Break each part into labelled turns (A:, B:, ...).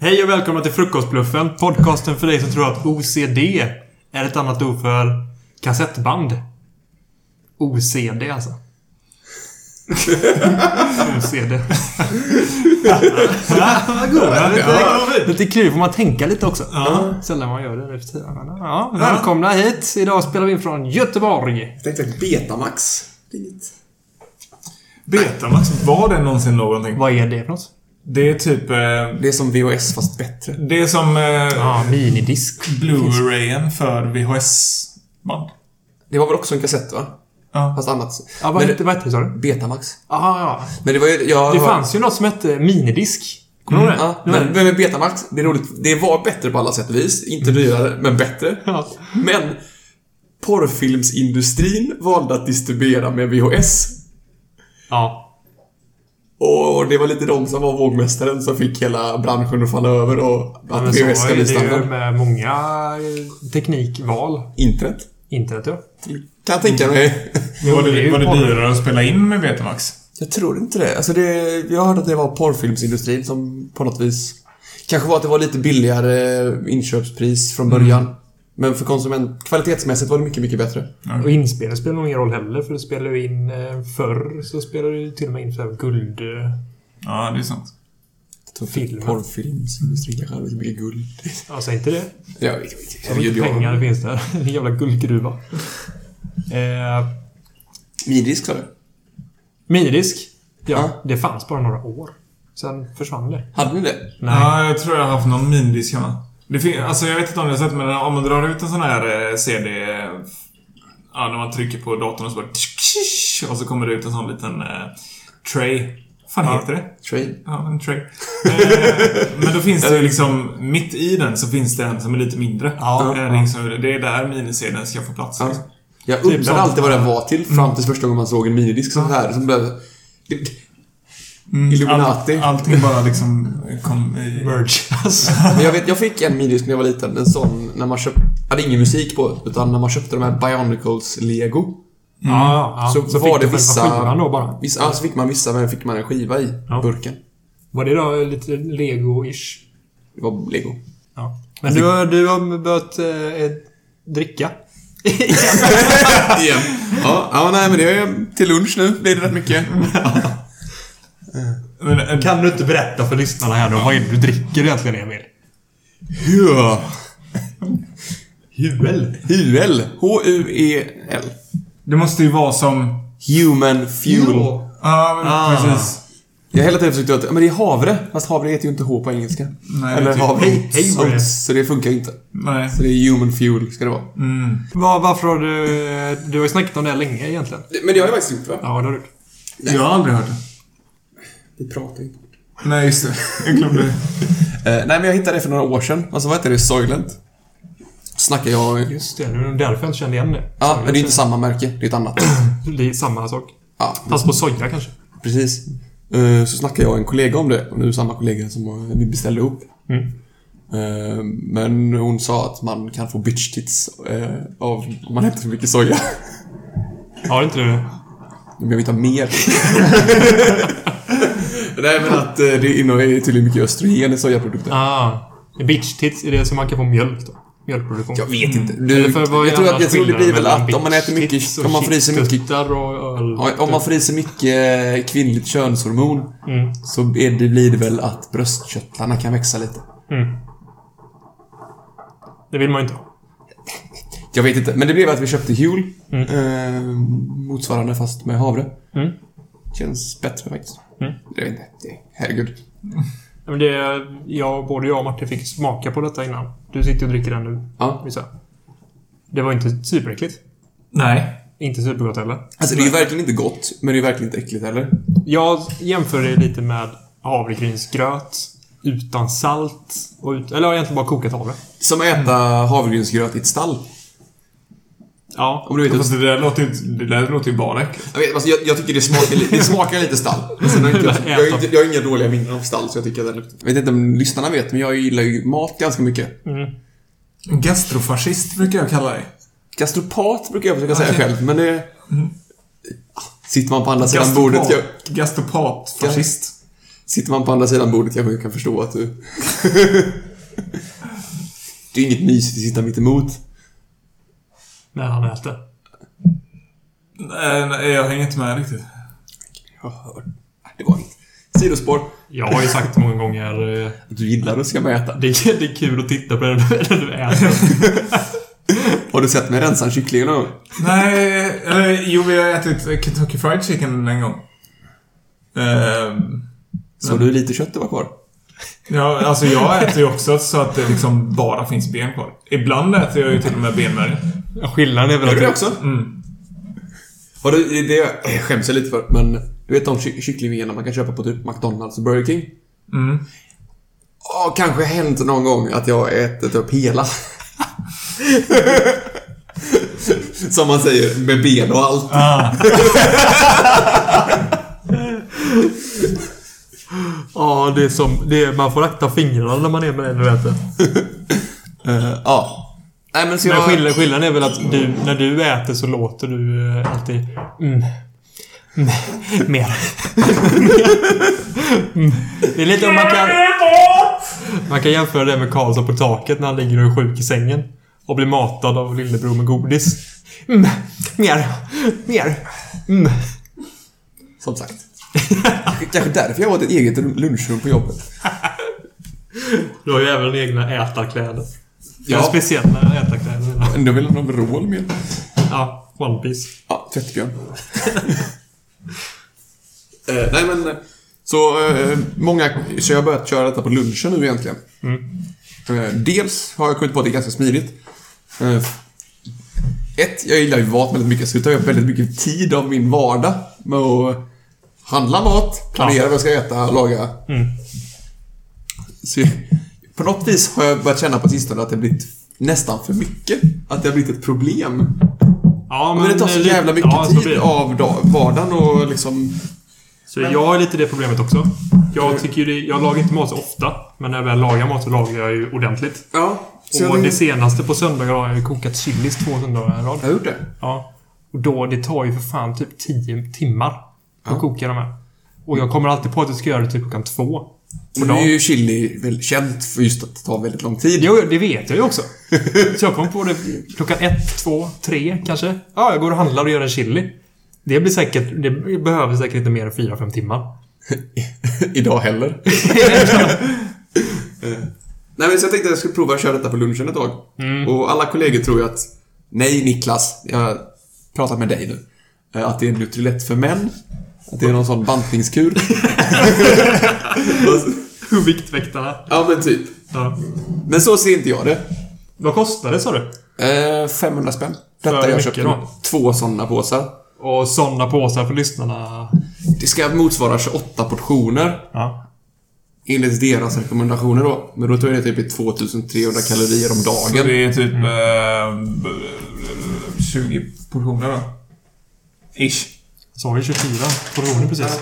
A: Hej och välkomna till Frukostbluffen. Podcasten för dig som tror att OCD är ett annat ord för kassettband. OCD alltså. OCD. ja, lite, lite kul får man tänka lite också. Ja. Sällan man gör det nu för tiden. men Ja, välkomna hit. Idag spelar vi in från Göteborg.
B: Jag tänkte att Betamax. Det är inget.
C: Betamax, var det någonsin någonting?
A: Vad är det för något?
C: Det är typ... eh,
B: Det är som VHS fast bättre.
C: Det är som eh,
A: Ja, minidisk.
C: Blu-rayen för VHS-band.
B: Det var väl också en kassett va?
C: Ja.
B: Fast annat.
A: Ja, vad
B: Men
A: hette vad hette det sa du?
B: Betamax.
A: Ja, ja.
B: Men det var ju... Jag, Mm,
A: Det fanns ju något som hette minidisk. Kommer du ihåg det?
B: Ja, men, men med Betamax, det är roligt. Det var bättre på alla sätt och vis. Inte
A: Mm.
B: dyrare, men bättre.
A: Ja.
B: Men porrfilmsindustrin valde att distribuera med VHS.
A: Ja.
B: Och det var lite de som var vågmästaren som fick hela branschen att falla över och
A: Ja,
B: att
A: men så
B: VHS ska
A: är
B: bli
A: det ju
B: standard.
A: med många eh, teknikval.
B: Internet.
A: Internet ja.
B: Kan jag tänka mig.
C: Var
A: det är
C: det,
A: ju
C: var det
A: porr.
C: dyrare att spela in med Betamax?
B: Jag tror inte det. Alltså det jag hörde att det var porrfilmsindustrin som på något vis... Kanske var att det var lite billigare inköpspris från
A: Mm.
B: början. Men för konsument... Kvalitetsmässigt var det mycket, mycket bättre.
A: Och inspelning spelar nog ingen roll heller för det spelar ju in eh, förr så spelar det ju till och med in så här guld... eh,
C: Ja, det är sant.
A: Film.
B: Porrfilmsindustrin kanske hade lite mycket guld.
A: Ja, säg inte det.
B: Ja, vi- vi-
A: Så mycket
B: vi-
A: pengar det finns där. En jävla guldgruva. Eh,
B: Minidisk sa du?
A: minidisk. Ja,
B: Ja.
A: det fanns bara några år. Sen försvann det.
B: Hade ni det?
A: Nej.
C: Ja, jag tror jag har haft någon minidisk hemma. Det fin- alltså, jag vet inte om ni har sett, men om man drar ut en sån här eh, CD... eh, Ja, när man trycker på datorn och så bara... Och så kommer det ut en sån liten... Eh, tray. Vad fan heter det?
B: Train?
C: Ja, en tray. Eh, men då finns det ju liksom, mitt i den så finns det en som är lite mindre.
A: Ja.
C: Eh, liksom, det är där miniserien ska få plats.
B: Ja.
C: Liksom.
B: Jag
A: Typ Mm.
B: undrade
A: sånt.
B: alltid vad den var till fram tills första gången man såg en minidisk som här. Som blev... det-
C: Mm,
B: Illuminati.
C: All, allting bara liksom kom i...
A: Merge.
B: Men jag vet, jag fick en minidisk när jag var liten. En sån när man köpte... Hade ingen musik på, utan när man köpte de här Bionicles-lego.
A: Ja, ja.
B: Så- så var
A: fick
B: det
A: du själva
B: vissa-
A: skivan då bara.
B: Vissa, alltså fick man vissa, men fick man en skiva i
A: Ja.
B: burken.
A: Var det då lite lego-ish?
B: Det var lego.
A: Ja. Men du, har- du har börjat eh, dricka.
B: Igen. Ja, ja, nej men det är till lunch nu. Blir det rätt mycket.
C: Men, eh,
A: Kan du inte berätta för lyssnarna här då? Vad är det du dricker egentligen, Emil?
B: Huel.
A: Huel.
B: Huel. H-U-E-L.
C: Det måste ju vara som...
B: E Human fuel.
C: Ja, men
A: Ah.
C: precis.
B: Jag har hela tiden försökt att... Men det är havre. Fast havre heter ju inte H på engelska.
C: Nej,
B: Eller
C: typ-
B: havre.
A: Hej, hej, vad är det?
B: Så det funkar ju inte.
C: Nej.
B: Så det är human fuel ska det vara.
C: Mm.
A: Var, varför har du... Du har ju snackat om det här länge egentligen.
B: Men det har jag faktiskt gjort va?
A: Ja, det har du.
C: Jag har aldrig hört det.
B: Vi pratar ju.
C: Nej, just det. Jag glömde.
B: nej men jag hittade det för några år sedan. Alltså vad heter det? Soylent. Snackar jag...
A: Just det. Det var därför jag inte kände igen det.
B: Ja, men det är ju inte samma märke. Det är ett annat.
A: Det är samma sak.
B: Ja,
A: Fast på soja kanske.
B: Precis. Eh, Så snackade jag och en kollega om det. Och nu är det samma kollega som eh, vi beställde upp.
A: Mm.
B: Eh, Men hon sa att man kan få bitch tits eh, av om man äter för mycket soja.
A: Har inte du det?
B: Men jag vill inte ha mer. Nej men att eh, det innehåller tydligen mycket östrogen i sojaprodukter.
A: Ah. Bitch tits, är det som man kan få mjölk då? Mjölkproduktion.
B: Jag vet inte.
A: Eller
B: Mm. Du,
A: för vad är
B: jag, tror att,
A: annars
B: jag tror det blir väl
A: skillnaden
B: att
A: mellan
B: om man äter
A: bitch
B: mycket,
A: tits och
B: om man fryser mycket
A: chipstuttar och öl.
B: Ja, Om man fryser mycket kvinnligt könshormon
A: Mm.
B: så är det, blir det väl att bröstkörtlarna kan växa lite.
A: Det vill man ju inte ha.
B: Jag vet inte, men det blev att vi köpte Huel. Eh, motsvarande fast med havre.
A: Mm.
B: Känns bättre faktiskt. Jag vet inte. Det, herregud.
A: Ja, Men det, jag, både jag och Martin fick smaka på detta innan. Du sitter och dricker den nu.
B: Ja.
A: Vissa. Det var inte superäckligt.
C: Nej.
A: Inte supergott heller.
B: Alltså det är ju verkligen inte gott, men det är verkligen inte äckligt heller.
A: Jag jämför det lite med havregrynsgröt. Utan salt. Och ut, eller egentligen bara kokat havre.
B: Som att äta havregrynsgröt i ett stall.
A: Ja.
B: Om du vet,
C: Fast det där låter ju, det där låter ju bara äckligt.
B: jag, vet alltså, jag, jag tycker det smakar, li- det smakar lite stall. Men sen har jag, inte, jag, har inte- jag har inga dåliga minnen av stall, så jag tycker att det luktar. Jag vet inte om lyssnarna vet, men jag gillar ju mat ganska mycket.
C: Gastrofascist brukar jag kalla dig.
B: Gastropat brukar jag försöka säga själv, men det... Ah, Sitter man på andra sidan
C: Gastropat.
B: bordet... Jag,
C: Gastropat-fascist.
B: Sitter man på andra sidan bordet kanske jag kan förstå att du... det är inget mysigt att sitta mitt emot.
A: När han äter.
C: Nej, nej, jag hänger inte med riktigt.
B: Jag hör. Det var ett sidospår.
A: Jag har ju sagt många gånger eh,
B: Att du gillar att ska mäta.
A: det, är- det är kul att titta på den när du äter.
B: Har du sett mig rensa en kyckling någon gång?
C: Nej, eller jo, vi har ätit Kentucky Fried Chicken en gång. Ehm,
B: Såg du hur lite kött det var kvar?
C: ja, alltså jag äter ju också så att det liksom bara finns ben kvar. Ibland äter jag ju till och med benmärgen.
A: Skillnaden är väl
B: Gör du det
A: att...
B: också?
C: Mm.
B: Och det, det jag skäms jag lite för, men du vet de ky- kycklingvingarna man kan köpa på typ McDonalds och Burger King?
C: Mm.
B: Ja, kanske hänt någon gång att jag har ätit upp hela. Som man säger, med ben och allt.
A: Ja, det är som... Det är, man får akta fingrarna när man är med den du äter.
B: Eh, Ja. Nej men så
A: Men
B: jag...
A: skillnaden, skillnaden är väl att du, när du äter så låter du eh, alltid... Mm. Mm. Mer. Mm. Det är lite om man kan... Man kan jämföra det med Karlsson på taket när han ligger och är sjuk i sängen. Och blir matad av lillebror med godis. Mm. Mer. Mer. Mm.
B: Som sagt. Kanske därför jag har ett eget lunchrum på jobbet.
A: Du har ju även egna ätarkläder.
B: Ja.
A: Ja. Speciella ätarkläder.
B: Ändå vill han ha vrål med.
A: Ja, One Piece.
B: Ja, tvättbjörn. eh, nej men, eh, så eh, många, så jag har börjat köra detta på lunchen nu egentligen. Eh, dels har jag kommit på att det är ganska smidigt. Eh, ett, jag gillar ju mat väldigt mycket, så det tar upp väldigt mycket tid av min vardag med att handla mat, planera
A: Ja.
B: vad jag ska äta, laga. Så, på något vis har jag börjat känna på sistone att det har blivit nästan för mycket. Att det har blivit ett problem.
A: Ja,
B: Men det tar så
A: eh, lite-
B: jävla mycket
A: ja, så blir
B: tid
A: det.
B: av dag, vardagen och liksom...
A: Så jag har lite det problemet också.
B: Mm.
A: Jag, tycker ju det, jag lagar inte mat så ofta, men när jag väl lagar mat så lagar jag ju ordentligt.
B: Ja. Så jag
A: och det
B: tänkte-
A: senaste på söndagar har jag ju kokat chilis två söndagar i rad.
B: Jag har gjort det.
A: Ja. Och då, det tar ju för fan typ 10 timmar att
B: Ja.
A: koka de här. Och jag kommer alltid på att jag ska göra det typ klockan två.
B: Och nu är ju chili väl känt för just att det tar väldigt lång tid.
A: Jo, det vet jag ju också. Så jag kom på det klockan ett, två, tre kanske. Ja, jag går och handlar och gör en chili. Det blir säkert... Det behöver säkert inte mer än fyra, fem timmar.
B: Idag heller. Nej men så jag tänkte att jag skulle prova att köra detta på lunchen ett tag.
A: Mm.
B: Och alla kollegor tror ju att... Nej Niklas, jag pratar med dig nu. Eh, Att det är Nutrilett för män. Att det är någon sån bantningskur. Och så-
A: Viktväktarna.
B: ja men typ.
A: Ja.
B: Men så ser inte jag det.
A: Vad kostar det sa du?
B: Eh, 500 spänn.
A: För
B: Detta jag
A: mycket
B: köpte.
A: då?
B: Två sådana påsar.
A: Och sådana påsar för lyssnarna.
B: Det ska motsvara 28 portioner
A: Ja.
B: enligt deras rekommendationer då. Men då tror jag det är typ 2300 kalorier om
C: Så
B: dagen.
C: det är typ eh, 20 portioner då. Ish.
A: Sa ju 24 portioner precis.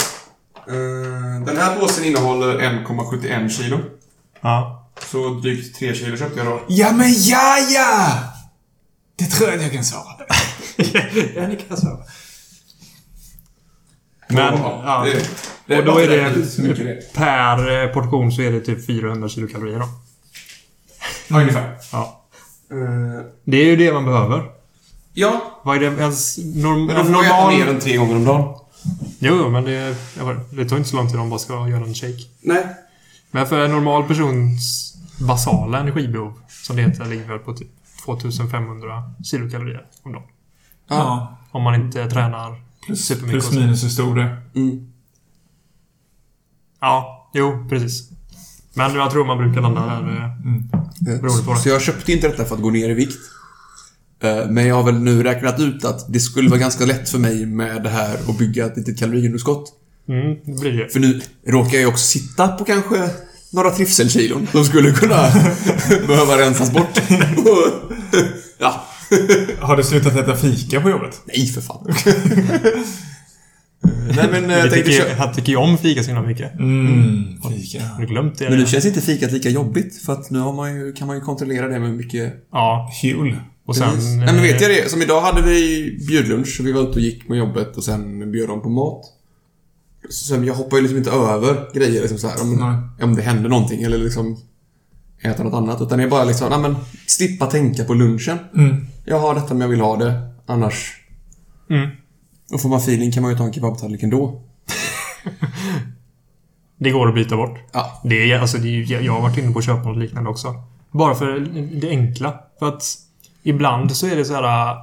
B: Den här påsen innehåller 1,71 kilo.
A: Ja.
B: Så drygt 3 kilo köpte jag då.
C: Ja men ja, ja! Det tror jag att jag kan svara.
A: ja, ni kan svara. Men, ja.
B: det
A: Och då är det-
B: så mycket det.
A: Per eh, portion så är det typ 400 kilokalorier då.
B: Ja, ungefär.
A: Ja.
B: Eh,
A: Det är ju det man behöver.
B: Ja,
A: Vad är det ens norm,
B: men då
A: en
B: får jag äta mer
A: normal...
B: än tre gånger om dagen.
A: Jo, jo, men det, jag vet- det tar inte så lång tid om man bara ska göra en shake.
B: Nej.
A: Men för en normal persons basala energibehov, som det heter, ligger väl på typ 2500 kilokalorier om dagen.
C: Ja.
A: Om man inte tränar
C: Plus,
A: supermycket.
C: plus minus hur stor det är.
B: Mm.
A: Ja, jo, precis. Men jag tror man brukar landa där. eh, Beroende på det.
B: Så jag köpte inte detta för att gå ner i vikt. Eh, Men jag har väl nu räknat ut att det skulle vara ganska lätt för mig med det här att bygga ett litet kaloriunderskott.
A: Mm, det blir det.
B: För nu råkar jag ju också sitta på kanske några trivselkilon som skulle kunna behöva rensas bort. ja,
C: Har du slutat äta fika på jobbet?
B: nej för fan. nej men eh,
A: Jag
B: jag tänkte
A: tycker,
B: köpa...
A: han tycker ju om fika så himla mycket.
C: Mm, fika.
A: Har du glömt det?
B: Men nu känns inte fikat lika jobbigt för att nu har man ju, kan man ju kontrollera det med mycket...
A: Ja.
C: Kul.
A: Och sen... eh,
B: Nej men vet jag det? Som idag hade vi bjudlunch, så vi var ute och gick med jobbet och sen bjöd de på mat. Så jag hoppar ju liksom inte över grejer liksom så här,
C: Nej.
B: om, om det händer någonting eller liksom äta något annat. Utan jag bara liksom, nej men slippa tänka på lunchen.
C: Mm.
B: Jag har detta men jag vill ha det. Annars...
A: Mm.
B: Och får man feeling kan man ju ta en kebabtallrik ändå.
A: Det går att byta bort.
B: Ja.
A: Det är, alltså, det är, ju- jag har varit inne på att köpa något liknande också. Bara för det enkla. För att ibland så är det så här... eh,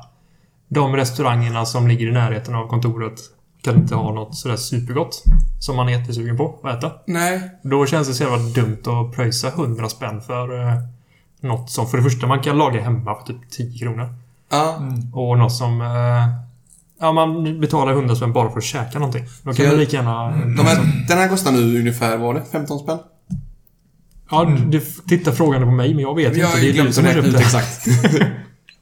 A: De restaurangerna som ligger i närheten av kontoret kan inte ha något sådär supergott. Som man är jättesugen på att äta.
B: Nej.
A: Då känns det så jävla dumt att pröjsa 100 spänn för eh, något som för det första man kan laga hemma för typ 10 kronor.
B: Ja.
A: Och något som... Eh, ja, man betalar 100 spänn bara för att käka någonting. Då kan
B: Ja.
A: man lika gärna... eh,
B: De
A: Mm.
B: här, den här kostar nu ungefär, vad var det? 15 spänn?
A: Ja, du tittar frågande på mig, men jag vet
B: Jag
A: inte.
B: har
A: Det är du
B: glömt
A: som
B: att
A: har
B: räkna
A: köpt
B: ut
A: det.
B: exakt.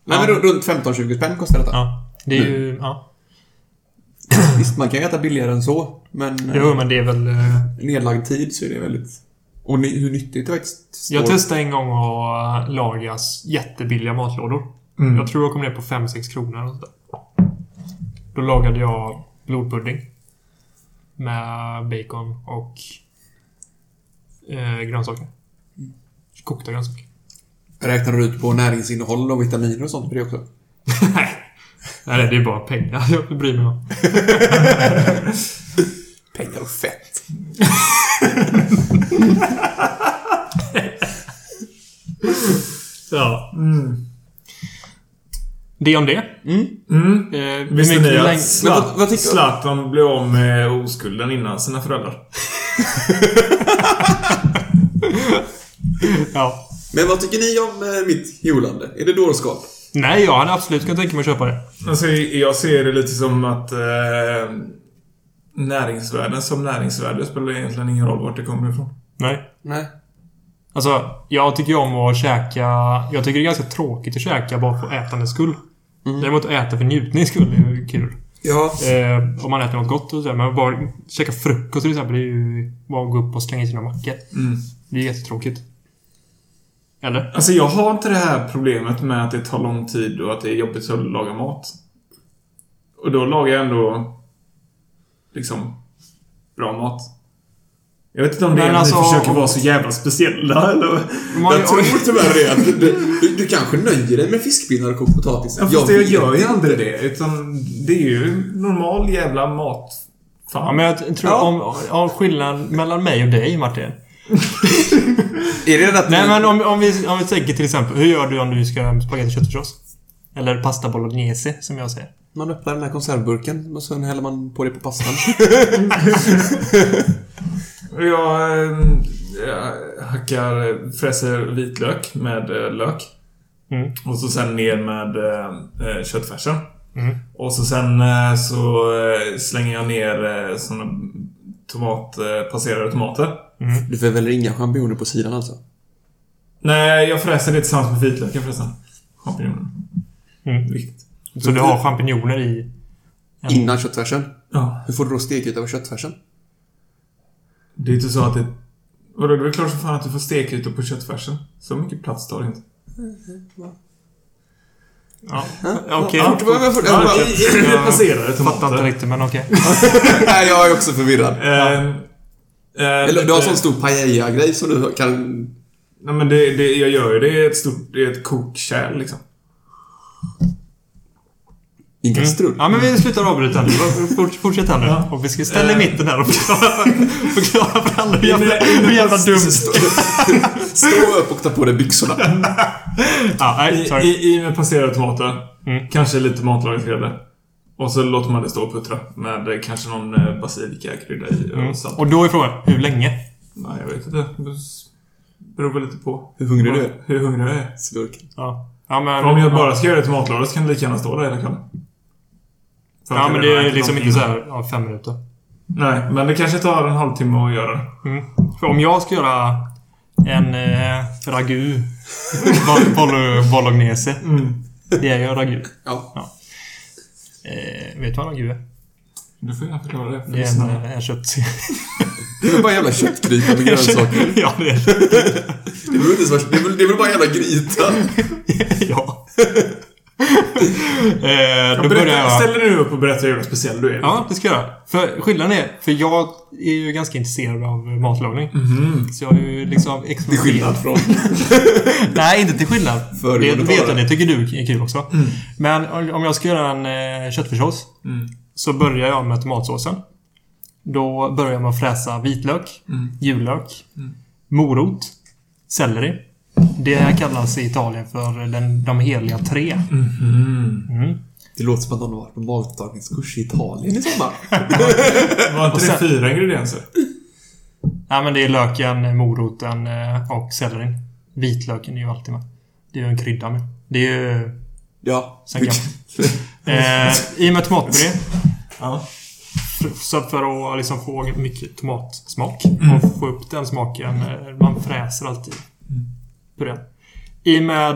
B: Nej men ru- runt 15-20 spänn kostar detta.
A: Ja, det är ju... Ja.
B: Visst, man kan ju äta billigare än så. Men eh,
A: Jo, men det är väl... eh,
B: nedlagd tid så är det väldigt... Och ny, hur nyttigt det faktiskt står.
A: Jag testade en gång att laga jättebilliga matlådor.
C: Mm.
A: Jag tror jag kom ner på 5-6 kronor. eller sånt där. Då lagade jag blodpudding. Med bacon och eh, grönsaker. Kokta grönsaker.
B: Räknar du ut på näringsinnehåll och vitaminer och sånt på det också?
A: Nej, det är bara pengar jag bryr mig om.
B: Pengar och fett.
A: Ja.
C: Mm.
A: Det om det.
C: Mm.
A: Eh, hur
C: Visste
A: mycket-
C: ni
A: hur länge-
C: att
B: Men vad- vad
C: Zlat-
B: tycker-
C: Zlatan blev av med oskulden innan sina föräldrar?
A: Ja.
B: Men vad tycker ni om eh, mitt hjulande? Är det dårskap?
A: Nej, jag hade absolut kunnat tänka mig att köpa det.
C: Alltså, jag ser det lite som att eh, näringsvärden som näringsvärde spelar egentligen ingen roll vart det kommer ifrån.
A: Nej.
B: Nej.
A: Alltså, jag tycker ju om att käka... Jag tycker det är ganska tråkigt att käka bara för ätandets skull.
B: Mm.
A: Däremot att äta för njutnings skull är ju kul.
B: Ja.
A: Eh, om man äter något gott och sådär. Men bara käka frukost till exempel, det är ju bara att gå upp och slänga i sina mackor.
B: Mm.
A: Det är jättetråkigt. Eller?
C: Alltså jag har inte det här problemet med att det tar lång tid och att det är jobbigt att laga mat. Och då lagar jag ändå liksom bra mat. Jag vet inte om det
A: Men
C: är att
A: alltså,
C: vi försöker
A: om-
C: vara så jävla speciella eller...
A: Man,
B: Jag tror tyvärr det. Att du, du, du kanske nöjer dig med fiskpinnar och kokt potatis.
C: Ja, fast jag
B: vet.
C: gör ju aldrig det. Utan det är ju normal jävla mat. Fan.
A: ja, men jag tror
B: Ja.
A: om, om skillnaden mellan mig och dig, Martin.
B: Är det att
A: Nej, men om, om, vi, om vi tänker till exempel, hur gör du om du ska göra spagetti köttfärssås? Eller pasta bolognese, som jag säger.
B: man öppnar den här konservburken och sen häller man på det på pastan?
C: Jag, eh, jag hackar, fräser vitlök med eh, lök.
A: Mm.
C: Och så sen ner med eh, eh, köttfärsen.
A: Mm.
C: Och så sen eh, så eh, slänger jag ner eh, såna tomat, eh, passerade tomater.
B: Du får väl inga champinjoner på sidan alltså?
C: Nej, jag fräser det tillsammans med vitlöken förresten. Champinjoner.
A: Mm.
C: Viktigt.
A: Så du har champinjoner i... Mm.
B: Innan köttfärsen?
C: Ja,
B: Hur får du då stekyta över köttfärsen?
C: det är inte så att det... Vadå, det är väl klart som fan att du får stekytor på köttfärsen. Så mycket plats tar det inte.
A: Ja. Okej.
B: Ja, det var- jag får- jag
C: Ja,
B: bara-
C: okej.
A: jag-
C: Passerade
A: Fattar inte
C: tomater.
A: riktigt, men okej.
B: Nej, jag är också förvirrad.
C: Ehm, eh,
B: Eller du har
C: eh,
B: sån stor paella-grej som du kan...
C: Nej men det, det, jag gör ju det i ett stort, i ett kokkärl liksom.
B: I en kastrull?
A: Ja, men vi slutar avbryta nu. Forts- Fortsätt här nu.
C: Ja.
A: Och vi ska ställa i mitten här och förklara, förklara för alla hur jävla, hur jävla dumt...
B: Stå, stå upp och ta på dig byxorna.
A: Ja, nej,
C: I,
A: sorry.
C: i, i med passerade tomater.
A: Mm.
C: Kanske lite matlagningsgrädde. Och så låter man det stå och puttra med eh, kanske någon eh, basilikakrydda i och
A: Mm.
C: salt.
A: Och då är frågan, hur länge?
C: Nej, jag vet inte. Det beror väl lite på.
B: Hur hungrig du
C: Vad-
B: är?
C: Hur hungrig jag är.
B: Slurken.
A: Ja. Ja, men,
C: Om jag bara ska göra ett matlåda så kan det lika gärna stå där hela kvällen. För att
A: Ja,
C: jag
A: men det
C: redan
A: är
C: ätit
A: liksom
C: någonting
A: inte så här, ja, fem minuter.
C: innan. Nej, men det kanske tar en halvtimme att göra det.
A: Mm. För om jag ska göra en eh, ragu... bol- bol- bolognese. Det är ju ragu.
B: Ja.
A: Eh, vet du vad ragu är?
C: Du får gärna förklara det för
A: Det är en,
C: lyssnarna.
A: eh, en kött...
B: Det är väl bara jävla köttkrypa med grönsaker.
A: ja, det är det.
B: Det är väl inte så värst- det är väl- det är väl bara jävla gryta.
A: ja. Eh, då börjar
C: Berätta,
A: jag...
C: Ställ dig nu upp och berätta hur jävla speciell du är.
A: Ja, det ska jag göra. För skillnaden är, för jag är ju ganska intresserad av matlagning. Så jag har ju liksom
B: Det är skillnad från...
A: Nej, inte till skillnad. Det
B: Föregående
A: vet jag,
B: talare.
A: det tycker du är kul också. Men om- om jag ska göra en eh, köttfärssås så börjar jag med tomatsåsen. Då börjar jag med att fräsa vitlök, jullök, morot, selleri. Det här kallas i Italien för den, de heliga tre.
C: Mm-hmm.
B: Det låter som att någon har varit på matlagningskurs i Italien i sommar.
C: Var inte det
A: sen-
C: fyra ingredienser?
A: Ja, men det är löken, moroten eh, och sellerin. Vitlöken är ju alltid med. Det är ju en krydda med. Det är ju...
B: Ja.
A: Sen kan- Eh, I och med tomatpuré.
C: Ja.
A: För- Så för att liksom få mycket tomatsmak. Och få upp den smaken. eh, Man fräser alltid purén. I med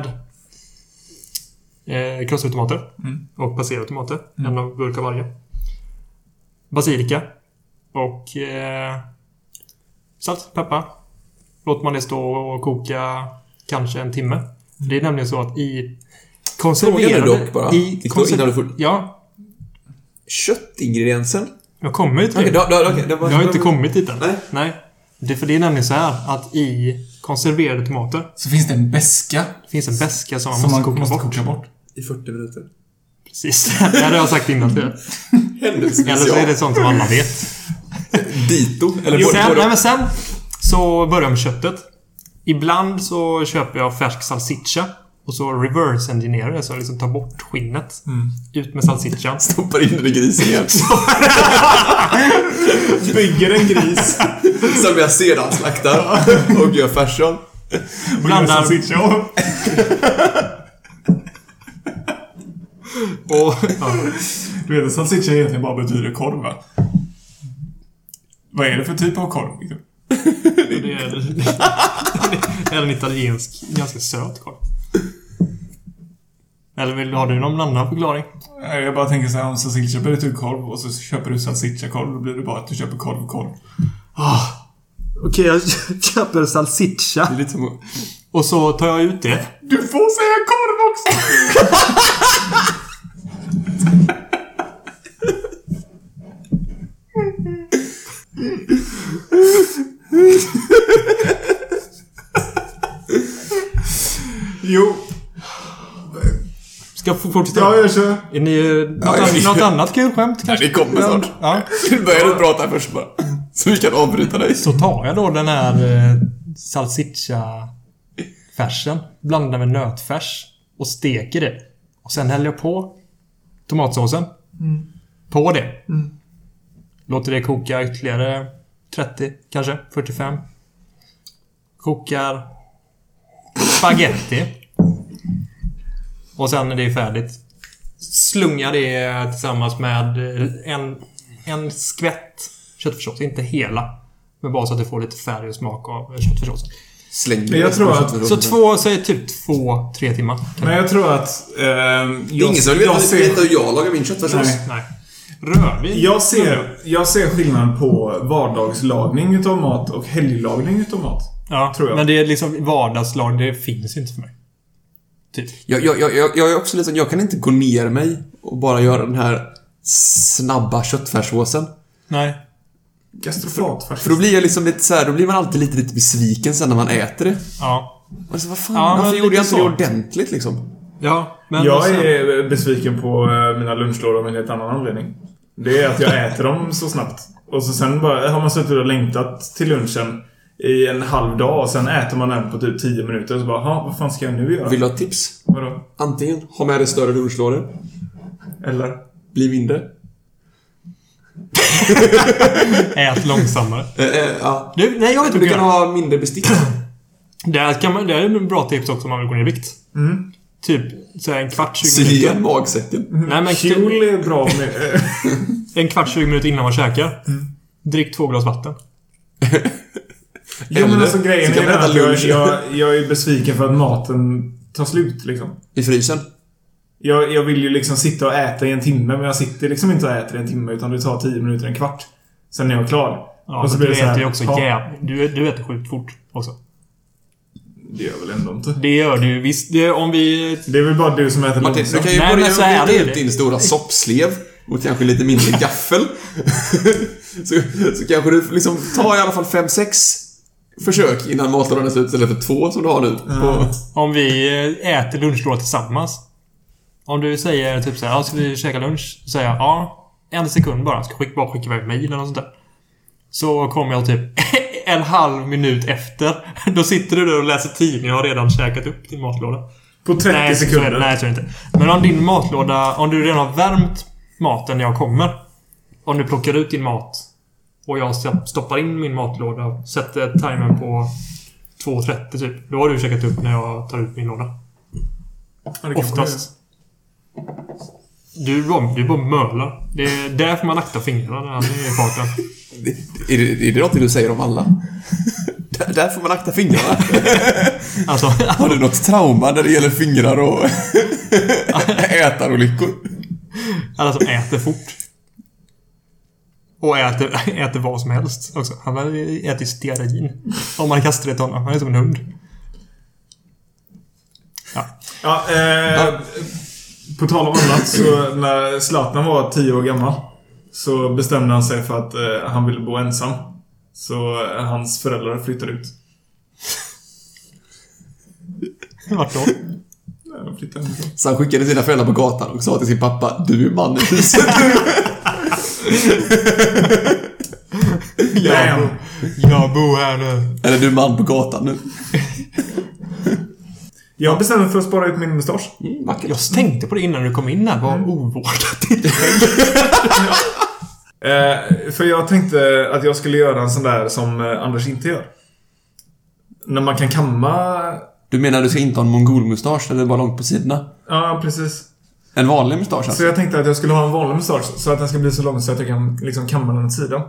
A: eh, krossade tomater.
C: Mm.
A: Och passerade tomater. En burk av varje. Basilika. Och eh, salt, peppar. Låter man det stå och koka kanske en timme. Det är nämligen så att i
B: Frågan är
A: konserverade...
B: dock bara,
A: I
B: innan- innan du
A: konser-
B: får-
A: ja,
B: Köttingrediensen?
A: jag kommer ju till
B: Okej,
A: det.
B: då- då- okej, det var-
A: Jag har inte kommit dit än.
B: Nej.
A: Det är för det är nämligen så här att i konserverade tomater
D: Så finns det en beska
A: finns en beska som man
D: som man
A: måste koka bort.
D: koka bort.
B: I 40 minuter.
A: Precis. Det hade jag sagt innan. Eller så är det
B: Händelsevis
A: sånt som alla vet.
B: Dito. Eller
A: Jo,
B: både-
A: sen,
B: både-
A: nej, men sen så börjar jag med köttet. Ibland så köper jag färsk salsiccia. Och så reverse engineerar jag, så jag liksom tar bort skinnet. Ut med salsiccian.
B: Stoppar in den i grisen igen.
C: Bygger en gris.
B: Som jag sedan slaktar och gör färs av.
A: Blandar. Och, ja.
C: Du vet, salsiccia egentligen bara betyder korv, va? Vad är det för typ av korv? Victor?
A: Det är, det är en italiensk, ganska söt korv. Eller vill, har du någon annan förklaring?
C: Nej, Jag bara tänker så här, om salsiccia blir typ korv och så köper du salsiccia-korv, då blir det bara att du köper korv och korv.
A: Okej, jag köper salsiccia.
B: Det är lite som att-
A: Och så tar jag ut det.
C: Du får säga korv också! jo,
A: Ska jag f- fortsätta?
C: ja jag kör.
A: Är ni, något,
B: Ja, jag-
A: an- något annat kul skämt kanske?
B: Det kommer snart.
A: Ja.
B: Du började prata först bara. Så vi kan avbryta dig.
A: Så tar jag då den här eh, salsiccia-färsen. Blandar med nötfärs. Och steker det. Och sen häller jag på tomatsåsen. På det. Låter det koka ytterligare 30, kanske 45. Kokar spaghetti. Och sen när det är färdigt. Slungar det tillsammans med en, en skvätt köttfärssås. Inte hela. Men bara så att det får lite färg och smak av köttfärssåsen.
B: Släng
C: Men jag tror att-
B: Mm.
A: Så två, säg typ två, tre timmar.
C: Men jag tror att... ehm,
B: Det är
C: jag,
B: ingen som vill
C: jag
B: veta-
C: ser-
B: veta hur jag lagar min köttfärssås.
C: Nej.
A: Nej. Rödvin.
C: Jag ser, jag ser skillnad på vardagslagning utav mat och helglagning utav mat.
A: Ja,
C: tror jag.
A: men det är liksom vardagslag. Det finns ju inte för mig. Typ.
B: Jag, jag, jag, jag, jag är också lite sån, jag kan inte gå ner mig och bara göra den här snabba köttfärssåsen.
A: Nej.
C: Gastrofat
B: För då blir jag liksom lite så här, då blir man alltid lite, lite besviken sen när man äter det.
A: Ja.
B: Och så, vad fan,
A: Ja, men
B: varför gjorde
A: lite
B: jag inte det
A: så.
B: ordentligt liksom?
A: Ja, men...
C: Jag
A: sen-
C: är besviken på eh, mina lunchlådor av en helt annan anledning. Det är att jag äter dem så snabbt. Och så sen bara, har man suttit och längtat till lunchen i en halv dag och sen äter man den på typ 10 minuter och så bara, "Ha, vad fan ska jag nu göra?
B: Vill du ha ett tips?
C: Vadå?
B: Antingen ha med dig större lunchlådor,
C: Eller?
B: bli mindre.
A: Ät långsammare.
B: Eh, eh, ja.
A: Du, nej, jag vet inte.
B: Du
A: hur
B: kan
A: jag-
B: ha mindre bestick.
A: Det, kan man, det är en bra tips också om man vill gå ner i vikt. Typ så här en kvart, 20
B: Sy igen
A: minuter.
B: magsäcken.
A: Nej, men
C: Kjol är bra med...
A: en kvart, 20 minuter innan man käkar. Drick två glas vatten.
C: Jo men
B: Eller
C: alltså grejen
B: så kan
C: är
B: man
C: den
B: äta
C: att jag,
B: lunch.
C: jag, jag är besviken för att maten tar slut liksom.
B: I frysen.
C: Jag, jag vill ju liksom sitta och äta i en timme, men jag sitter liksom inte och äter i en timme, utan det tar 10 minuter, en kvart. Sen är jag klar.
A: Ja, och så blir du
C: så här,
A: äter ju också
C: ja,
A: jäv... Du, du äter sjukt fort också.
C: Det gör väl ändå inte.
A: Det gör det ju visst. Det, om vi...
C: Det är väl bara du som äter
B: Martin, du
C: långsamt.
B: kan ju
A: Nej, men
B: börja
A: så här
B: med att byta
A: är det.
B: ut din stora soppslev mot kanske lite mindre gaffel. så, så kanske du liksom tar i alla fall fem sex försök innan matlådan är slut istället för två som du har nu. På,
A: Om vi eh, äter lunchlåda tillsammans. Om du säger typ såhär, ja, ska vi käka lunch? Så säger jag, ja. En sekund bara. Ska skicka, bara skicka iväg mejl eller något sånt där. Så kommer jag typ en halv minut efter. Då sitter du där och läser tidning och har redan käkat upp din matlåda.
C: På 30
A: nej, så-
C: sekunder.
A: Så, är det- nej, så är det inte. Men om din matlåda... Om du redan har värmt maten när jag kommer. Om du plockar ut din mat och jag st- stoppar in min matlåda och sätter timern på 2.30 typ. Då har du checkat upp när jag tar ut min låda.
C: Ja, det kan
A: Oftast. Du, bara- du bara mölar. Det är därför man aktar fingrarna när han är i farten.
B: är, det, är det någonting du säger om alla? där, där får man akta fingrarna.
A: Alltså,
B: Har du något trauma när det gäller fingrar och ätarolyckor?
A: alla som alltså äter fort. Och äter, äter vad som helst också. Han har ju ätit stearin. Om man kastar det till honom. Han är som en hund.
C: Ja, eh, på tal om annat så när Zlatan var 10 år gammal så bestämde han sig för att eh, han ville bo ensam. Så eh, hans föräldrar flyttade ut.
A: Vart då?
C: Nej, de flyttade hemifrån.
B: Så han skickade sina föräldrar på gatan och sa till sin pappa Du är man i huset.
A: Jag,
C: Damn!
A: bo- jag bor här nu.
B: Eller du är man på gatan nu.
C: Jag bestämde mig för att spara ut min mustasch.
B: Mm, vackert.
A: Jag tänkte på det innan du kom in här. Vad ovårdat ditt skägg.
C: Eh, för jag tänkte att jag skulle göra en sån där som eh, Anders inte gör. När man kan kamma...
B: Du menar du ska inte ha en mongolmustasch eller bara långt på sidorna?
C: Ja, precis.
B: En vanlig mustasch
C: Så
B: alltså?
C: jag tänkte att jag skulle ha en vanlig mustasch så att den ska bli så lång så att jag kan liksom kamma den åt sidan.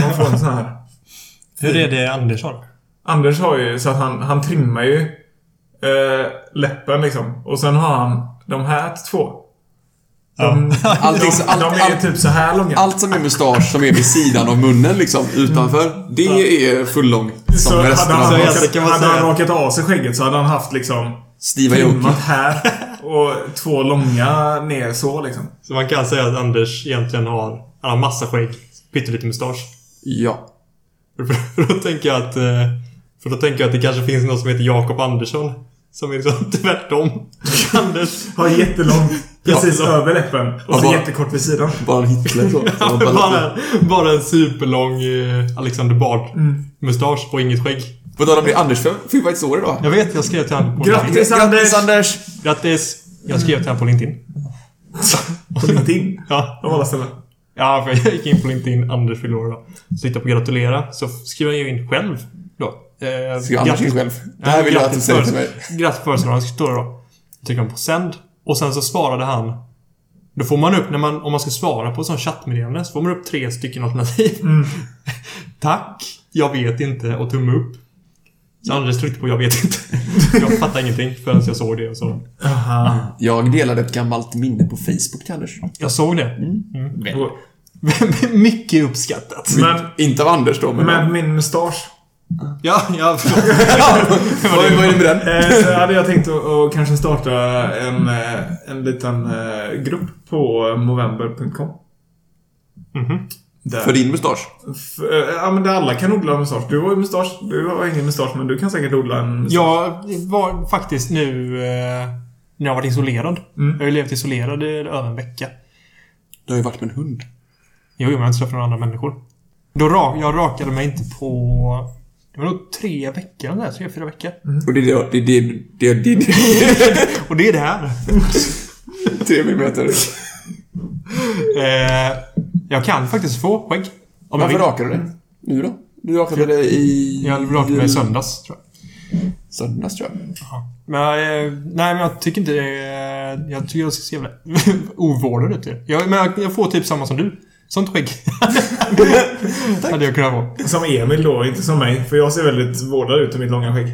C: Man får en sån här.
A: Hur är det Andersson?
C: Anders har ju så att han, han trimmar ju eh, läppen liksom. Och sen har han de här två. De,
B: Allting-
C: de,
B: allt-
C: de är ju
B: allt-
C: typ så här långa.
B: Allt som är mustasch som är vid sidan av munnen liksom, utanför. Det är fullång. Som
C: Mm. så hade
B: resten
C: han,
B: av
A: så-
C: rakat,
A: kan man
C: hade
A: säga.
C: han rakat av sig skägget så hade han haft liksom
B: Stiva Joker.
C: trimmat här och två långa ner så liksom.
A: Så man kan säga att Anders egentligen har... Han har massa skägg. Pyttelite mustasch.
B: Ja.
A: För, för, då tänker jag att... eh, För då tänker jag att det kanske finns någon som heter Jakob Andersson. Som är liksom tvärtom. Anders.
C: Har jättelång precis
A: Ja.
C: över läppen och
B: Ja,
C: så
B: bara-
C: jättekort vid sidan.
B: Bara en Hitler så. så. han bara-
A: Bara, bara en superlång eh, Alexander Mm. Bard-mustasch och inget skägg.
B: På tal om det, Anders fyllde faktiskt år idag.
A: Jag vet, jag skrev till honom på
C: Grattis!
A: LinkedIn.
C: Anders!
B: Anders!
A: Grattis! Jag skrev till honom på LinkedIn.
C: På LinkedIn.
A: Ja.
C: Av alla ställen.
A: Ja, för jag gick in på LinkedIn, Anders fyller år då. Så tittade jag på gratulera, så skrev jag ju in själv då. Eh,
B: Skrev Anders in själv? Det här vill jag att du säger till mig.
A: Grattis födelsedagen, står det då. Jag trycker på sänd. Och sen så svarade han. Då får man upp, när man, om man ska svara på ett sånt chattmeddelande, så får man upp tre stycken alternativ. Tack, jag vet inte och tumme upp. Så Anders tryckte på jag vet inte. jag fattar ingenting förrän jag såg det och så.
C: Aha.
B: Jag delade ett gammalt minne på Facebook till Anders.
A: Jag såg det.
B: Mm.
C: Och-
A: Mycket uppskattat.
C: Men,
B: Inte av Anders då, men...
C: men min mustasch.
A: Ja, ja, förlåt.
B: Vad vad är det med den?
C: Eh, så hade jag tänkt att, att kanske starta en, eh, en liten eh, grupp på movember.com.
A: Mhm.
C: Där.
B: För din mustasch?
C: F- eh, ja, men där alla kan odla mustasch. Du har ju mustasch. Du har ingen mustasch, men du kan säkert odla en mustasch.
A: Jag var faktiskt nu... Eh, när jag varit isolerad. Jag har ju levt isolerad i över en vecka.
B: Du har ju varit med en hund.
A: Jo, men jag har inte träffat några andra människor. Då ra jag rakade mig inte på... Det var nog tre veckor eller där, tre, fyra veckor.
B: Och det är det... Det är det... det, det,
A: Och det är det här.
B: det tre millimeter.
A: Eh, jag kan faktiskt få skägg. Om jag
B: Varför
A: vill.
B: rakar du dig? Nu då? Du rakade dig i...
A: Jag rakade
B: Mm.
A: mig i söndags, tror jag.
B: Söndags, tror jag.
A: Ja. Men, eh, nej, men jag tycker inte det är- Jag tycker jag ser så jävla ovårdad ut. ju. Jag, men jag, jag får typ samma som du. Sånt skägg. Hade jag kunnat få.
C: Som Emil då, inte som mig. För jag ser väldigt vårdad ut i mitt långa skägg.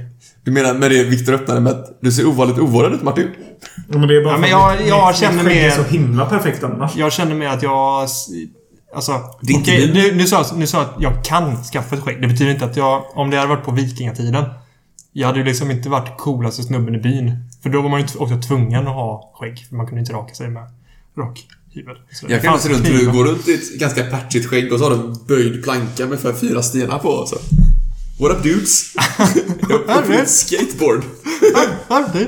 B: Du menar med det Viktor öppnade med att du ser ovanligt ovårdad ut, Martin?
C: Ja, Men det är bara
A: Ja,
C: för
A: men
C: att
A: jag-
C: mitt-
A: jag
C: mitt
A: känner
C: skägg är
A: mer-
C: så himla perfekt annars.
A: Jag känner mig att jag... s- Alltså,
B: Det är inte
A: okej,
B: du.
A: nu, nu, sa, jag- nu sa jag att jag kan skaffa ett skägg. Det betyder inte att jag... Om det hade varit på vikingatiden Jag hade ju liksom inte varit coolaste snubben i byn. För då var man ju t- också tvungen att ha skägg. För man kunde inte raka sig med rakhyvel. Så
B: Jag
A: det
B: kan
A: fanns
B: se runt
A: knivar.
B: du går runt i ett ganska patchigt skägg och så har du en böjd planka med för fyra stenar på. Så. What up dudes? jag har ett skateboard.
A: Alltid.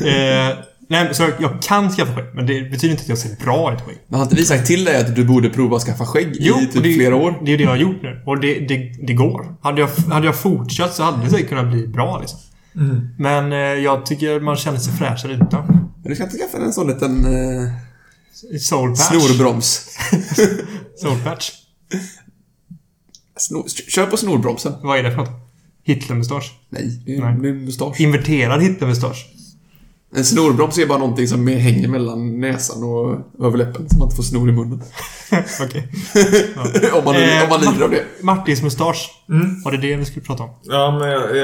A: eh, nej, men så jag, jag kan skaffa skägg. Men det betyder inte att jag ser bra ut skägg.
B: Men har inte vi sagt till dig att du borde prova att skaffa skägg i
A: och
B: typ
A: det, är-
B: flera år?
A: Det är ju det jag har gjort nu. Och det, det, det går. Hade jag, hade jag fortsatt så hade det säkert kunnat bli bra liksom. Men eh, jag tycker man känner sig fräschare utan.
B: Men du ska inte skaffa en sån liten eh,
A: Soul patch.
B: snorbroms?
A: Soul patch.
B: Snor, kör på snorbromsen.
A: Vad är det för något? Hitlermustasch.
B: Nej, det är
A: Nej.
B: en- det är en mustasch.
A: Inverterad Hitlermustasch.
B: En snorbroms är bara någonting som hänger mellan näsan och överläppen så man inte får snor i munnen.
A: Okej.
B: om, man,
A: Eh,
B: om man lider av det.
A: Martins mustasch. Var det det vi skulle prata om?
C: Ja, men jag,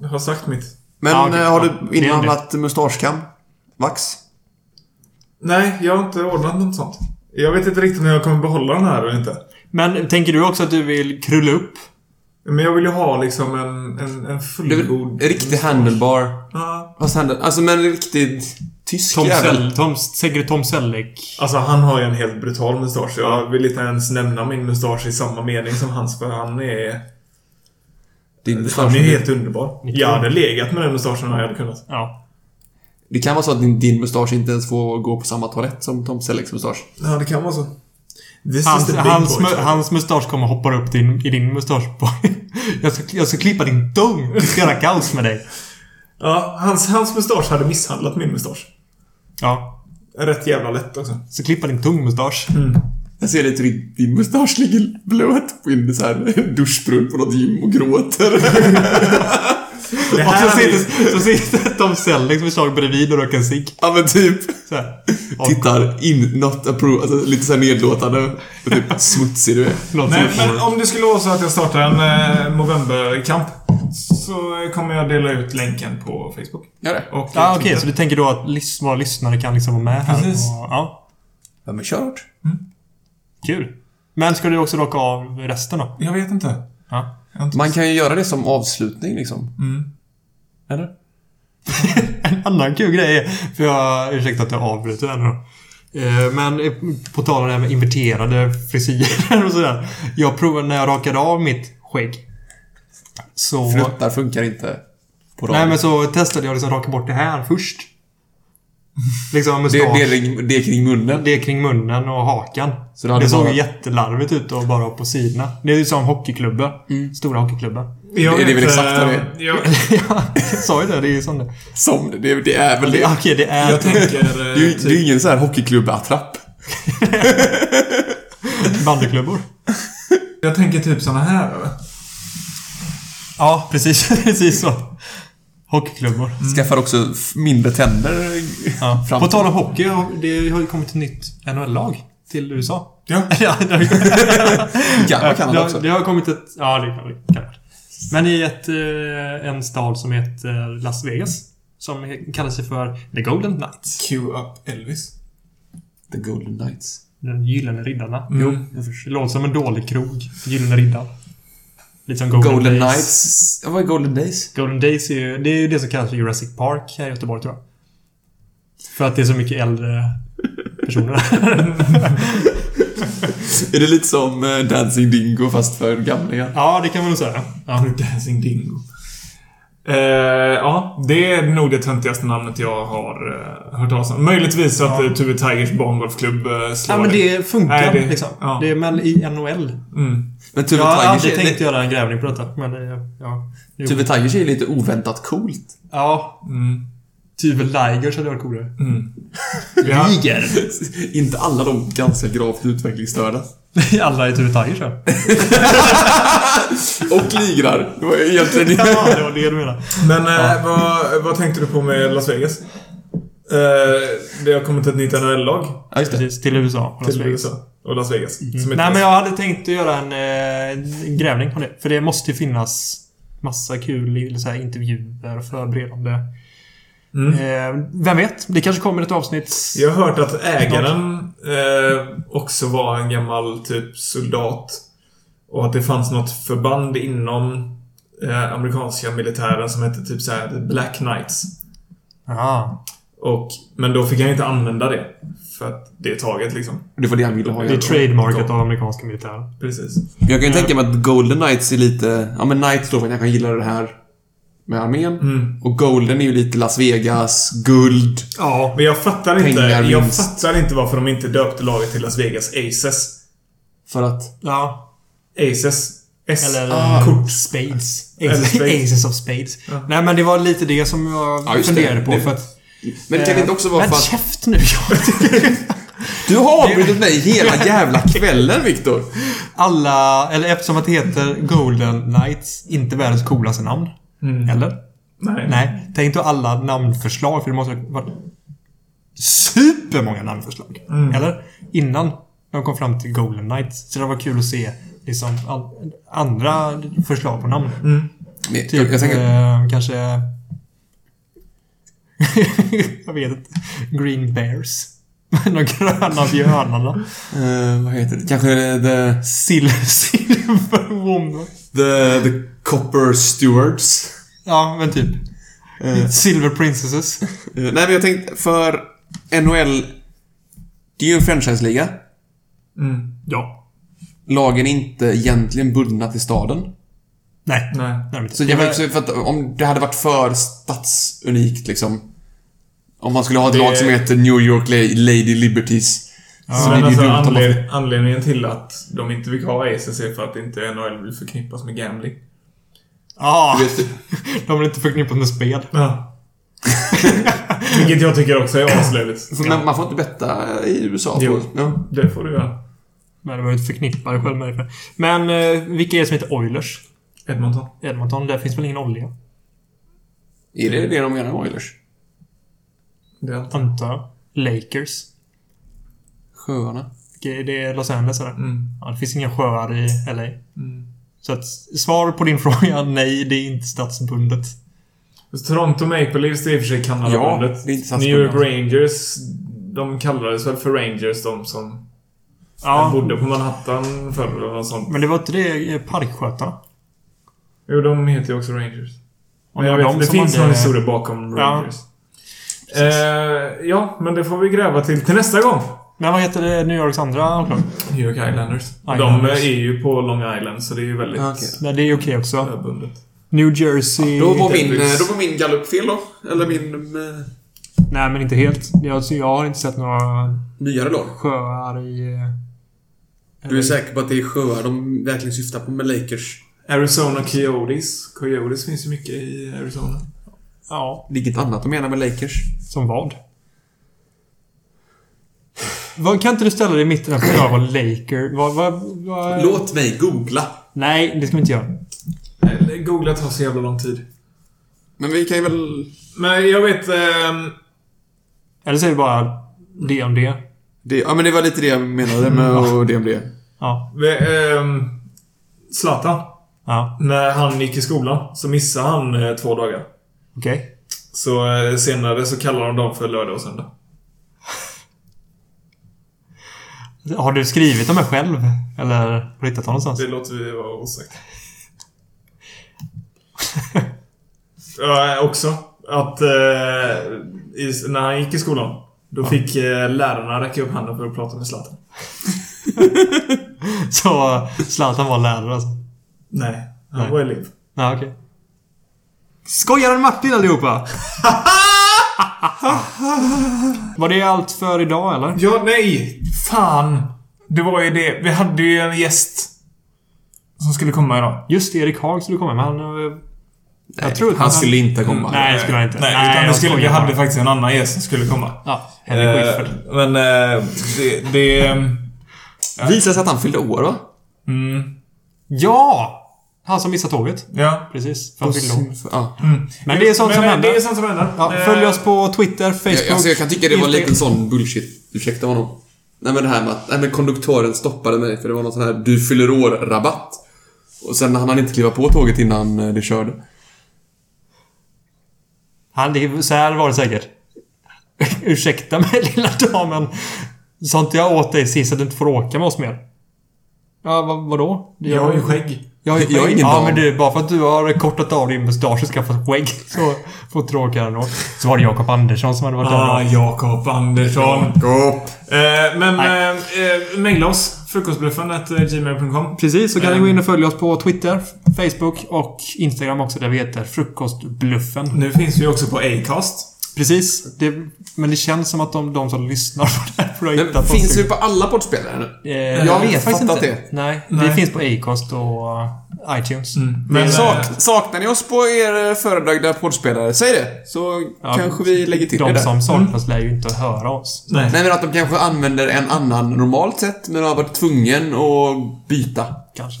C: jag har sagt mitt.
B: Men
A: Ja, okej.
B: eh,
A: Ja,
B: har
A: det
B: du
A: är en
B: inhandlat mustaschkam? Vax?
C: Nej, jag har inte ordnat något sånt. Jag vet inte riktigt om jag kommer behålla den här eller inte.
A: Men tänker du också att du vill krulla upp?
C: Men jag vill ju ha liksom en, en, en
B: Det är väl
C: fullgod...
B: en riktig handlebar.
C: Ja.
B: Fast handel, alltså men en riktigt tysk
A: Tom,
B: jävel.
A: Sell, Tom, Segre Tom Selleck.
C: Alltså han har ju en helt brutal mustasch. Jag vill inte ens nämna min mustasch i samma mening som hans för han är...
B: Din
C: Han är
B: mustasch,
C: helt underbar.
A: Mycket.
C: Jag hade legat med den mustaschen om jag hade kunnat.
A: Ja.
B: det kan vara så att din, din mustasch inte ens får gå på samma toalett som Tom Sellecks mustasch.
C: Ja, det kan vara så. This is
A: Hans,
C: the big
A: hans,
C: boy.
A: mu- hans mustasch kommer hoppa upp din, i din mustaschborg. Jag ska, jag ska klippa din dong. Jag ska göra kaos med dig.
C: Ja, hans, hans mustasch hade misshandlat min mustasch.
A: Ja.
C: Rätt jävla lätt också.
A: Så klippa din tungmustasch.
C: Mm.
B: Jag ser lite hur din- din mustasch ligger blöt på en så här duschbrunn på något gym och gråter.
C: Det
A: Och så
C: här är,
A: sitter, så sitter Tom Sellecks mustasch bredvid och röker en cigg.
B: ja men typ.
A: Så här.
B: Tittar in, not approve, alltså lite så här nedlåtande. Och typ smutsig du är.
A: Något
C: nej,
A: som-
C: men om det skulle vara så att jag startar en eh, Movember-kamp så kommer jag dela ut länken på Facebook.
B: Gör det.
C: Och
A: Ja, Ah, okej.
C: Twitter.
A: så du tänker då att lys- våra lyssnare kan liksom vara med här?
C: Precis.
A: Och, ja,
B: Ja men kör hårt.
A: kul. Men ska du också rocka av resten då?
C: Jag vet inte.
A: Ja.
C: Jag har inte-
B: Man kan ju göra det som avslutning liksom.
A: Mm.
B: Eller?
A: En annan kul grej är, för jag, ursäkta att jag avbryter här nu då. Eh, Men eh, på tal om det här med inverterade frisyrer och sådär. Jag provade när jag rakade av mitt skägg. Så...
B: Fluttar funkar inte. På radio.
A: Nej men så testade jag liksom raka bort det här först. Liksom mustasch.
B: det, det, är- det är kring munnen.
A: Det är kring munnen och hakan.
B: Så det
A: det
B: hade
A: såg
B: bara-
A: jättelarvigt ut och bara på sidorna. Det är ju som hockeyklubbor.
B: Mm.
A: Stora hockeyklubbor.
C: Jag
B: det är
C: vet,
B: väl exakt vad det
C: eh, Jag,
A: ja, jag sa ju det. Det är ju sånt det.
B: Som det- det, det är väl det.
A: det Okej, det är...
C: jag tänker...
B: Det är ju
C: eh,
B: det
A: typ-
B: är ju ingen så här hockeyklubbattrapp.
A: bandyklubbor.
C: Jag tänker typ såna här eller?
A: Ja, precis. precis så. Hockeyklubbor.
B: Skaffar också f- mindre tänder.
A: Mm. Ja.
B: Fram-
A: På tal om hockey, har- det har ju kommit ett nytt NHL-lag till USA.
C: Ja.
A: ja, det har
B: Gamla kan
A: det,
B: han
A: har,
B: också.
A: det har kommit ett... Ja, det kan det. kan vara. Men i ett, eh, en stad som heter eh, Las Vegas. Som kallar sig för The Golden Knights.
C: Cue up Elvis.
B: The Golden Knights.
A: Den gyllene riddarna.
B: Mm.
C: Jo,
A: jag förstår. Det låter som en dålig krog. Gyllene riddaren. Lite som Golden,
B: Golden
A: Days.
B: Knights. Ja, Vad är Golden Days?
A: Golden Days är ju det, är ju det som kallas för Jurassic Park här i Göteborg tror jag. För att det är så mycket äldre personer.
B: Är det lite som eh, Dancing Dingo fast för gamlingar?
A: ja, det kan man nog säga. Ja.
C: Dancing Dingo. Eh, ja, det är nog det töntigaste namnet jag har eh, hört talas om. Möjligtvis att ja. Tuve Tigers barngolfklubb eh, slår
A: ja, men det funkar
C: Nej, det-
A: liksom.
C: ja.
A: Det är men i NHL.
C: Mm.
B: Men Tuve
A: Jag har aldrig
B: Tigers, är-
A: tänkt göra en grävning på detta, men eh, ja. Jo.
B: Tuve Tigers är lite oväntat coolt.
A: Ja,
C: Mm.
A: Tuve Ligers hade varit coolare.
C: Mm. Vi har-
A: Tiger!
B: inte alla de ganska gravt utvecklingsstörda.
A: Alla är typ Tuve Tigers ja.
B: Och ligrar. Det var ju egentligen
A: Ja, det var det du menade.
C: Men eh, vad, vad tänkte du på med Las Vegas? Eh, det har kommit ett nytt NHL-lag
B: Ja, just det.
A: Precis, till USA. Las
C: till
A: Vegas. Mm.
C: USA. Och Las Vegas. Som heter-
A: Nej, men jag hade tänkt att göra en, eh, en grävning på det. För det måste ju finnas massa kul så här, intervjuer och förberedande.
C: Mm.
A: Eh, vem vet? Det kanske kommer ett avsnitt.
C: Jag har hört att ägaren eh, också var en gammal typ soldat. Och att det fanns något förband inom eh, amerikanska militären som hette typ så här The Black Knights.
A: Ja.
C: Och, men då fick han inte använda det. För att det är taget liksom.
B: Det var det han ville ha.
A: Det är trademarket av amerikanska militären.
C: Precis.
B: Jag kan ju tänka mig att Golden Knights är lite... Ja, men Knights då för att jag kan gilla det här med armén.
A: Mm.
B: Och Golden är ju lite Las Vegas, guld.
A: Ja.
C: Men jag fattar inte.
B: Pengar,
C: Jag
B: vinst.
C: fattar inte varför de inte döpte laget till Las Vegas Aces.
B: För att...
A: Ja.
C: Aces. S.
A: Eller
B: Ah.
A: kort. Spades.
C: Eller
A: Aces,
C: spades.
A: Aces of Spades. Nej, men det var lite det som jag
B: Ja, just det.
A: funderade på.
B: Det-
A: För att,
B: Men det kan det inte också vara
A: men
B: för att...
A: käft nu! Äh.
B: Du har avbrutit mig hela jävla kvällen, Viktor!
A: Alla, eller eftersom att det heter Golden Knights, inte världens coolaste namn.
C: Mm.
A: Eller?
C: Nej.
A: Nej. Tänk då alla namnförslag, för det måste ha varit supermånga namnförslag. Eller? Innan de kom fram till Golden Knights. Så det var kul att se liksom, all, andra förslag på namn.
B: Nej,
A: Typ
B: Jag, jag tänker...
A: eh, kanske... jag vet inte. Green Bears. De gröna björnarna.
B: eh, vad heter det? Kanske the,
A: Silver, silver Woman.
B: the, the Copper Stewards?
A: Ja, men typ.
B: Eh.
A: Silver Princesses.
B: Eh,
C: Mm.
B: nej, men jag tänkte för NHL... Det är ju en franchise-liga.
C: Mm.
A: Ja.
B: Lagen är inte egentligen bundna till staden.
A: Nej.
C: Nej.
A: Nej, men inte.
B: Så
A: Det
B: jag
A: var-
B: menar, så för att om det hade varit för stadsunikt liksom. Om man skulle ha ett lag som heter New York La- Lady Liberties. så
C: Men
B: blir det ju
C: alltså,
B: dumt om man...
C: anled- anledningen till att de inte fick ha Aces är för att inte NHL vill förknippas med gambling.
A: Ah,
B: Du vet,
A: de blir inte förknippade med spel.
C: Ja. Vilket jag tycker också är aslöjligt.
B: så man- Man får inte betta i USA.
C: Jo.
B: på- Ja.
C: Det får du göra.
A: Men de var inte förknippade själv med det. Men eh, vilka är det som heter Oilers?
C: Edmonton.
A: Edmonton, där finns väl ingen olja?
B: Är det det de menar med Oilers?
C: Det är allt.
A: Antar jag. Lakers.
B: Sjöarna?
A: Vilka är Det är Los Angeles eller?
C: Mm.
A: Ja, det finns inga sjöar i LA.
C: Mm.
A: Så att, svar på din fråga, nej, det är inte stadsbundet.
C: Fast Alltså, Toronto Maple Leafs det är i och för sig Kanadabundet.
B: Ja, det är inte
C: New York
B: stadsbundet.
C: Rangers. De kallades väl för Rangers, de som
A: Ja,
C: bodde på Manhattan förr eller något sånt.
A: men det var inte det eh, parkskötarna?
C: Jo, de heter ju också Rangers.
A: Och
C: Men jag
A: det var
C: vet,
A: de
C: det
A: som
C: finns
A: hade-
C: någon historia bakom
A: Ja.
C: Rangers. Eh, ja, men det får vi gräva till till nästa gång.
A: Men vad heter det New Yorks andra outlag?
C: New York Islanders. De eh,
A: Islanders.
C: är ju på Long Island, så det är ju väldigt
B: Okej.
A: Nej, det är Ah, okej också.
C: bundet.
A: New Jersey...
B: Då var min,
C: Davis.
B: då var min gallup fel då. Eller min eh,
A: Nej, men inte helt. Jag, alltså, jag har inte sett några
B: nyare lag.
A: sjöar i... eh,
B: Du är säker på att det är sjöar de verkligen syftar på med Lakers?
C: Arizona Coyotes. Coyotes finns ju mycket i Arizona.
A: Ja,
B: Vilket annat de menar med Lakers?
A: som vad? Vad- Kan inte du ställa dig i mitten här för jag var Laker? Vad, vad, vad...
B: Låt mig googla.
A: Nej, det ska vi inte göra.
C: Eh, Googla tar så jävla lång tid.
B: Men vi kan ju väl...
C: Men jag vet... ehm,
A: Eller säger vi bara det om det.
B: Det, ja, men det var lite det jag menade med
A: Mm.
B: och det om det.
A: Ja.
C: vi- ehm, Zlatan.
A: Ja.
C: När han gick i skolan så missade han eh, två dagar.
A: Okej.
C: Så eh, senare så kallar de dem för lördag och söndag.
A: Har du skrivit dem här själv? Eller har du hittat dem någonstans?
C: Det låter vi vara osagt. ja, också att eh, i, när han gick i skolan, då fick eh, lärarna räcka upp handen för att prata med Zlatan.
A: Så eh, Zlatan var lärare alltså?
C: Nej, han
A: Nej.
C: var elev.
A: Ja, okej. Skojar en Martin allihopa! var det allt för idag eller?
C: Ja, nej! Fan! Det var ju det. Vi hade ju en gäst. Som skulle komma idag.
A: Just det, Erik Haag skulle komma med. Han... eh, jag tror att Mm.
B: Han skulle inte komma.
A: Nej, det skulle han inte.
C: Nej, utan det
A: jag
C: skulle, vi
A: skojar bara.
C: hade faktiskt en annan gäst som skulle komma.
A: Ja, Henrik
C: Eh,
A: Schyffert.
C: men eh, det... det
B: Visade sig att han fyllde år va?
C: mm,
A: Ja! Han som missade tåget.
C: ja.
A: Precis. För han fyllde år. Mm.
B: Ja.
A: Men det är sånt
C: Men,
A: som
C: eh,
A: händer.
C: Det är sånt som händer.
A: Ja,
C: Eh,
A: följ oss på Twitter, Facebook,
B: Jag, alltså, jag kan tycka det var
A: Instagram.
B: lite sån bullshit. Ursäkta honom. Nej men det här med att nej, men konduktören stoppade mig för det var någon sån här du fyller år-rabatt. Och sen hann han inte kliva på tåget innan eh, det körde.
A: Han, det, är- så här var det säkert. Ursäkta mig lilla damen. Sånt jag åt dig sist att du inte får åka med oss mer. Ja, vad, vadå? Det
C: Jag
A: gör
C: har ju
A: man
C: skägg.
B: Jag, jag har ingen
E: Ja,
B: dam.
E: men du, bara för att du har kortat av din mustasch och skaffat skägg så får tråkigare då. Så var det Jakob Andersson som hade varit där
C: Ah,
E: då.
C: Jakob Andersson.
B: Jakob.
C: Eh, men eh, eh, mejla oss. Frukostbluffen.gmail.com
A: Precis, så kan ni gå in
B: Ehm.
A: och följa oss på Twitter, Facebook och Instagram också där vi heter Frukostbluffen.
C: Nu finns vi också på Acast.
A: Precis. Det, men det känns som att de, de som lyssnar på det här borde ha
B: Men
A: hittat
B: finns
A: oss.
B: vi på alla poddspelare nu?
A: Eh,
B: Jag vet fattat det.
A: Nej,
C: Nej.
A: vi finns på Acast och eh, iTunes.
B: Mm.
C: Men,
B: Sak,
C: eh,
B: saknar ni oss på er eh, föredragna poddspelare? Säg det, så
A: Ja,
B: kanske vi lägger till det
A: De
B: där. Mm.
A: som saknas lär ju inte höra oss.
C: nej.
B: Nej, men att de kanske använder en annan normalt sett, men har varit tvungen att byta.
A: Kanske.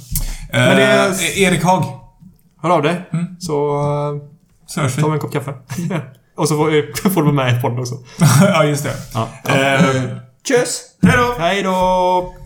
C: Men
A: det är-
C: eh, Erik Hag.
A: Hör av dig.
B: Mm.
A: Så eh,
C: Så hörs vi.
A: tar vi en kopp kaffe. och så får, får du vara med i podden också.
C: ja, just det.
A: Ja.
C: Eh,
B: Tjus!
C: hej då!
A: Hej då!